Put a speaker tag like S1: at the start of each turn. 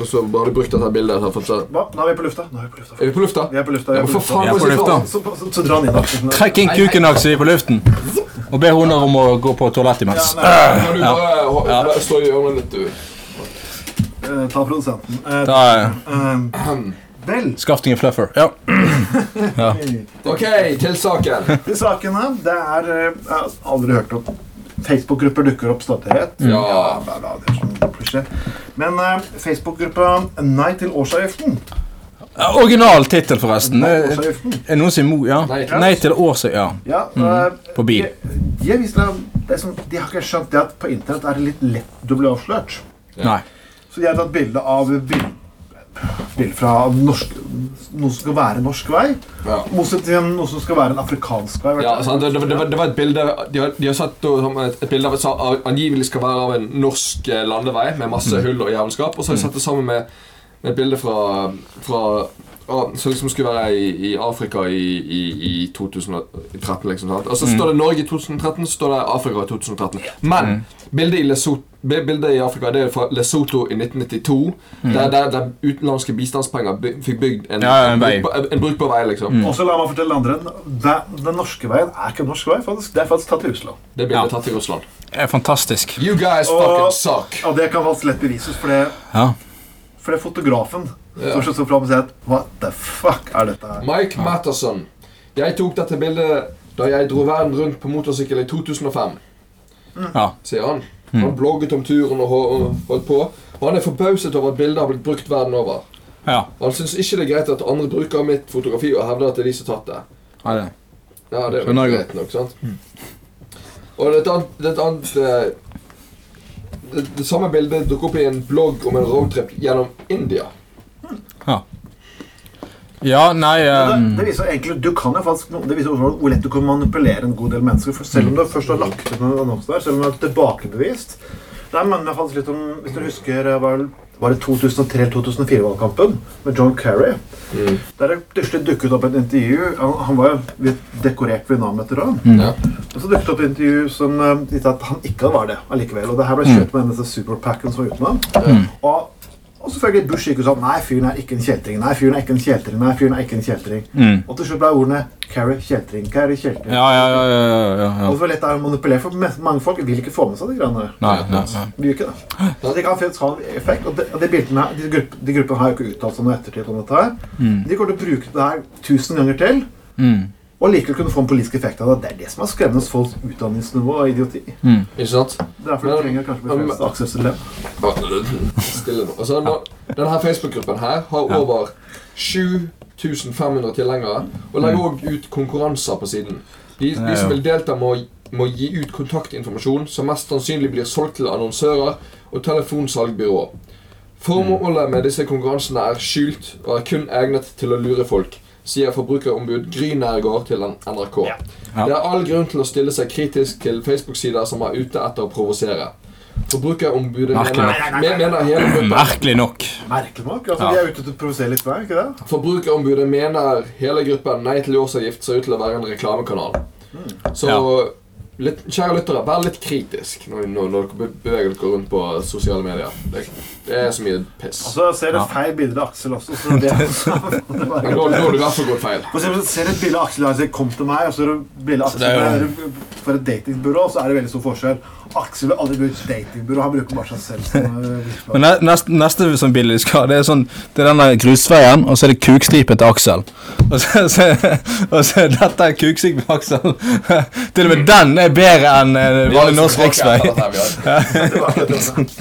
S1: Og så bare har de brukt dette bildet. Så har jeg fått sånn
S2: Hva? Nå er vi på lufta. Nå er vi på lufta.
S1: Er vi på lufta?
S2: Vi er på lufta. vi
S1: Ja,
S2: er
S1: men for
S2: på lufta.
S1: faen,
S3: Vi er på
S1: må jeg si
S3: lufta.
S1: faen.
S2: Så, så, så dra den inn, da.
S3: Trekk inn kuken hans i på luften. Og be hunder om å gå på toalettet
S2: Ja,
S3: imens.
S2: nei,
S1: Kan du bare ho- bare stå i hjørnet litt, du?
S2: eh, ta produsenten. Eh,
S3: Da
S2: eh, vel,
S3: Skaff deg en fluffer. Ja.
S1: OK, til saken.
S2: de sakene Det er eh, Jeg har aldri hørt om Facebook-grupper dukker opp støttighet.
S1: Ja.
S2: bla, bla, det er sånn klisjé. Men eh, Facebook-gruppa Nei til årsavgiften.
S3: Ja, Original tittel, forresten. Er
S2: Årsavgiften.
S3: er noen som er imot? Ja.
S1: Nei til-
S3: Nei til årsak, ja.
S2: Ja, eh,
S3: Mm. På bil.
S2: Jeg, jeg viser deg, det er sånn, de har ikke skjønt det at på internett er det litt lett å bli avslørt.
S3: Nei.
S2: Så de har tatt bilde av bil, bilde fra norsk, noe som skal være norsk vei.
S1: Ja.
S2: Motsatt til noe som skal være en afrikansk vei. vet
S1: Ja,
S2: du.
S1: sant? Det, det, det, var, det var et bilde De har, de har satt da som et, et bilde av et, sa- av- angivelig skal være av en norsk eh, landevei med masse
S3: Mm.
S1: hull og jævelskap, og så har de satt det sammen med, med et bilde fra, fra av- som liksom skulle være i, i Afrika i, i, i 2013. liksom sant? Og så
S3: Mm.
S1: står det Norge i 2013, så står det Afrika i 2013. Men
S3: Mm.
S1: bildet i Lesotho bi- Bildet i Afrika det er fra Lesotho i 1992, der, der, der utenlandske bistandspenger by, fikk bygd en,
S3: Mm. Ja, ja, en vei. Mm.
S1: brukbar- en brukbar vei. liksom
S2: Og så la meg fortelle andre den, den norske veien er ikke en norsk vei. faktisk. Det er faktisk tatt i Russland.
S1: Det bildet
S3: Ja.
S1: er tatt i Russland.
S3: Det er fantastisk.
S1: You guys
S2: Og-
S1: fucking suck.
S2: Og det kan faktisk lett bevises, for det,
S3: Ja.
S2: for det er fotografen
S1: Ja.
S2: som står fram og sier at What the fuck er dette her?
S1: Mike Matterson. Jeg tok dette bildet da jeg dro verden rundt på motorsykkel i 2005,
S3: ja.
S1: sier han.
S3: Hmm.
S1: Han blogget om turen og ho- og holdt på. Og han er forbauset over at bildet har blitt brukt verden over.
S3: ja.
S1: Og han syns ikke det er greit at andre bruker mitt fotografi og hevder at det er de som har tatt det.
S3: ja det.
S1: Ja, det er jo
S3: Skjønner jeg Hmm.
S1: greit nok, sant? Og det er et annet, det er et annet eh, det, det samme bildet dukket opp i en blogg om en roadtrip gjennom India.
S3: ja nei
S2: Det,
S3: ehm,
S2: det viser egentlig, du kan jo faktisk, det viser også hvor lett du kan manipulere en god del mennesker. For selv om du først har lagt ut en annonse der, selv om det er tilbakebevist Der mener jeg faktisk litt om, Hvis dere husker eh, var, var det 2003-2004-valgkampen med John Kerry
S3: Hmm.
S2: Der det plutselig dukket opp et intervju Han, han var jo litt dekorert Vietnam etter ran.
S1: Ja.
S2: Og så dukket det opp et intervju som eh, viste at han ikke var det allikevel. Og det her ble kjørt med denne superpacken som var utenom. Og, og selvfølgelig Bush gikk jo sånn Nei, fyren er ikke en kjeltring. Nei, fyren er ikke en kjeltring. Nei, fyren er ikke en kjeltring. Og til slutt ble ordene Carrie kjeltring, Carrie kjeltring.
S3: mm. Ja, ja, ja. ja, ja, ja.
S2: Og hvor lett det er å manipulere, for me- mange folk vil ikke få med seg de greiene der.
S3: Nei, nei, nei.
S2: De gjør ikke det. Så det kan faktisk ha en effekt. Og de, og de, bildene, her- de, grupp, de gruppene har jo ikke uttalt seg noe i ettertid om dette her.
S3: Mm.
S2: De kommer til å bruke det her tusen ganger til. Og likevel kunne få en politisk effekt av det. Det er det som er skremmende folks utdanningsnivå og idioti.
S3: Mm.
S1: Ikke sant?
S2: Det er derfor
S1: Men-
S2: du trenger kanskje
S1: men-
S2: befrelst Aksel Sundem.
S1: Stille nå. Altså, nå- denne her Facebook-gruppen her har over 7500 tilhengere, og legger òg ut konkurranser på siden. De, de som vil delta, må, må gi ut kontaktinformasjon som mest sannsynlig blir solgt til annonsører og telefonsalgbyrå. Formålet med disse konkurransene er skjult og er kun egnet til å lure folk, sier forbrukerombud Gry Nærgaard til NRK.
S3: Ja.
S1: Det er all grunn til å stille seg kritisk til Facebook-sider som er ute etter å provosere. Forbrukerombudet
S3: Merkelig
S1: mener, me- mener hele gruppen
S3: Merkelig nok.
S2: Merkelig nok. Altså,
S3: Ja.
S2: De er ute til å provosere litt hver, ikke det?
S1: Forbrukerombudet mener hele gruppen Nei til årsavgift ser ut til å være en reklamekanal. Så litt, kjære lyttere, vær litt kritisk når, når, når dere be- beveger dere rundt på sosiale medier. Det, det er så mye piss.
S2: Altså, jeg ser et
S3: Ja.
S2: feil bilde av Aksel også, så det det var-
S1: Men nå, nå har du i hvert fall gått feil.
S2: For eksempel, ser du et bilde av Aksel Larsen 'Kom til meg', og så er det et bilde av
S3: det
S2: Aksel
S3: er jo-
S2: med- for et datingbyrå, så er det veldig stor forskjell. Aksel vil aldri bruke datingbyrå, han bruker bare seg selv. som, eh, virkelig.
S3: Men ne- neste, neste sånn bilde du skal ha, det er sånn Det er denne grusveien, og så er det kukstripen til Aksel. Og så, så, og så er dette er kukstripen til Aksel. Til og med den er bedre enn eh, vanlig norsk riksvei.
S1: liksom Det er jo tilbake etter dette vi har-
S2: Det var akkurat det.